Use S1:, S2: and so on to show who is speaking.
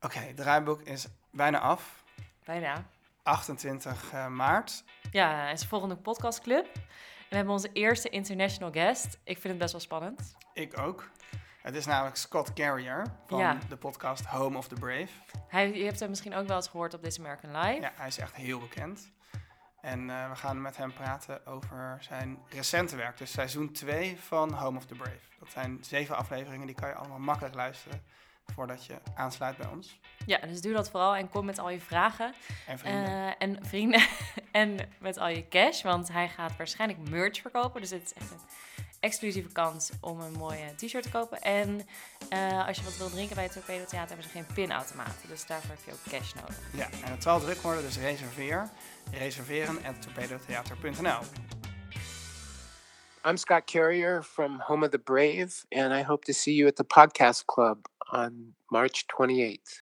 S1: Oké, het draaiboek is bijna af.
S2: Bijna.
S1: 28 eh, maart.
S2: Ja, het is de volgende podcastclub. En we hebben onze eerste international guest. Ik vind het best wel spannend.
S1: Ik ook. Het is namelijk Scott Carrier van
S2: Ja.
S1: de podcast Home of the Brave.
S2: Hij, je hebt hem misschien ook wel eens gehoord op This American Life.
S1: Ja, hij is echt heel bekend. En eh, we gaan met hem praten over zijn recente werk. Dus seizoen 2 van Home of the Brave. Dat zijn zeven afleveringen, die kan je allemaal makkelijk luisteren voordat je aansluit bij ons.
S2: Ja, dus doe dat vooral en kom met al je vragen.
S1: En vrienden.
S2: Eh, en vrienden. en met al je cash, want hij gaat waarschijnlijk merch verkopen. Dus dit is echt een exclusieve kans om een mooie t-shirt te kopen. En eh, als je wat wil drinken bij het Torpedo Theater, hebben ze geen pinautomaten. Dus daarvoor heb je ook cash nodig.
S1: Ja, en het zal druk worden, dus reserveer. Reserveren at torpedotheater.nl.
S3: I'm Scott Carrier from Home of the Brave, and I hope to see you at the podcast club on March 28th.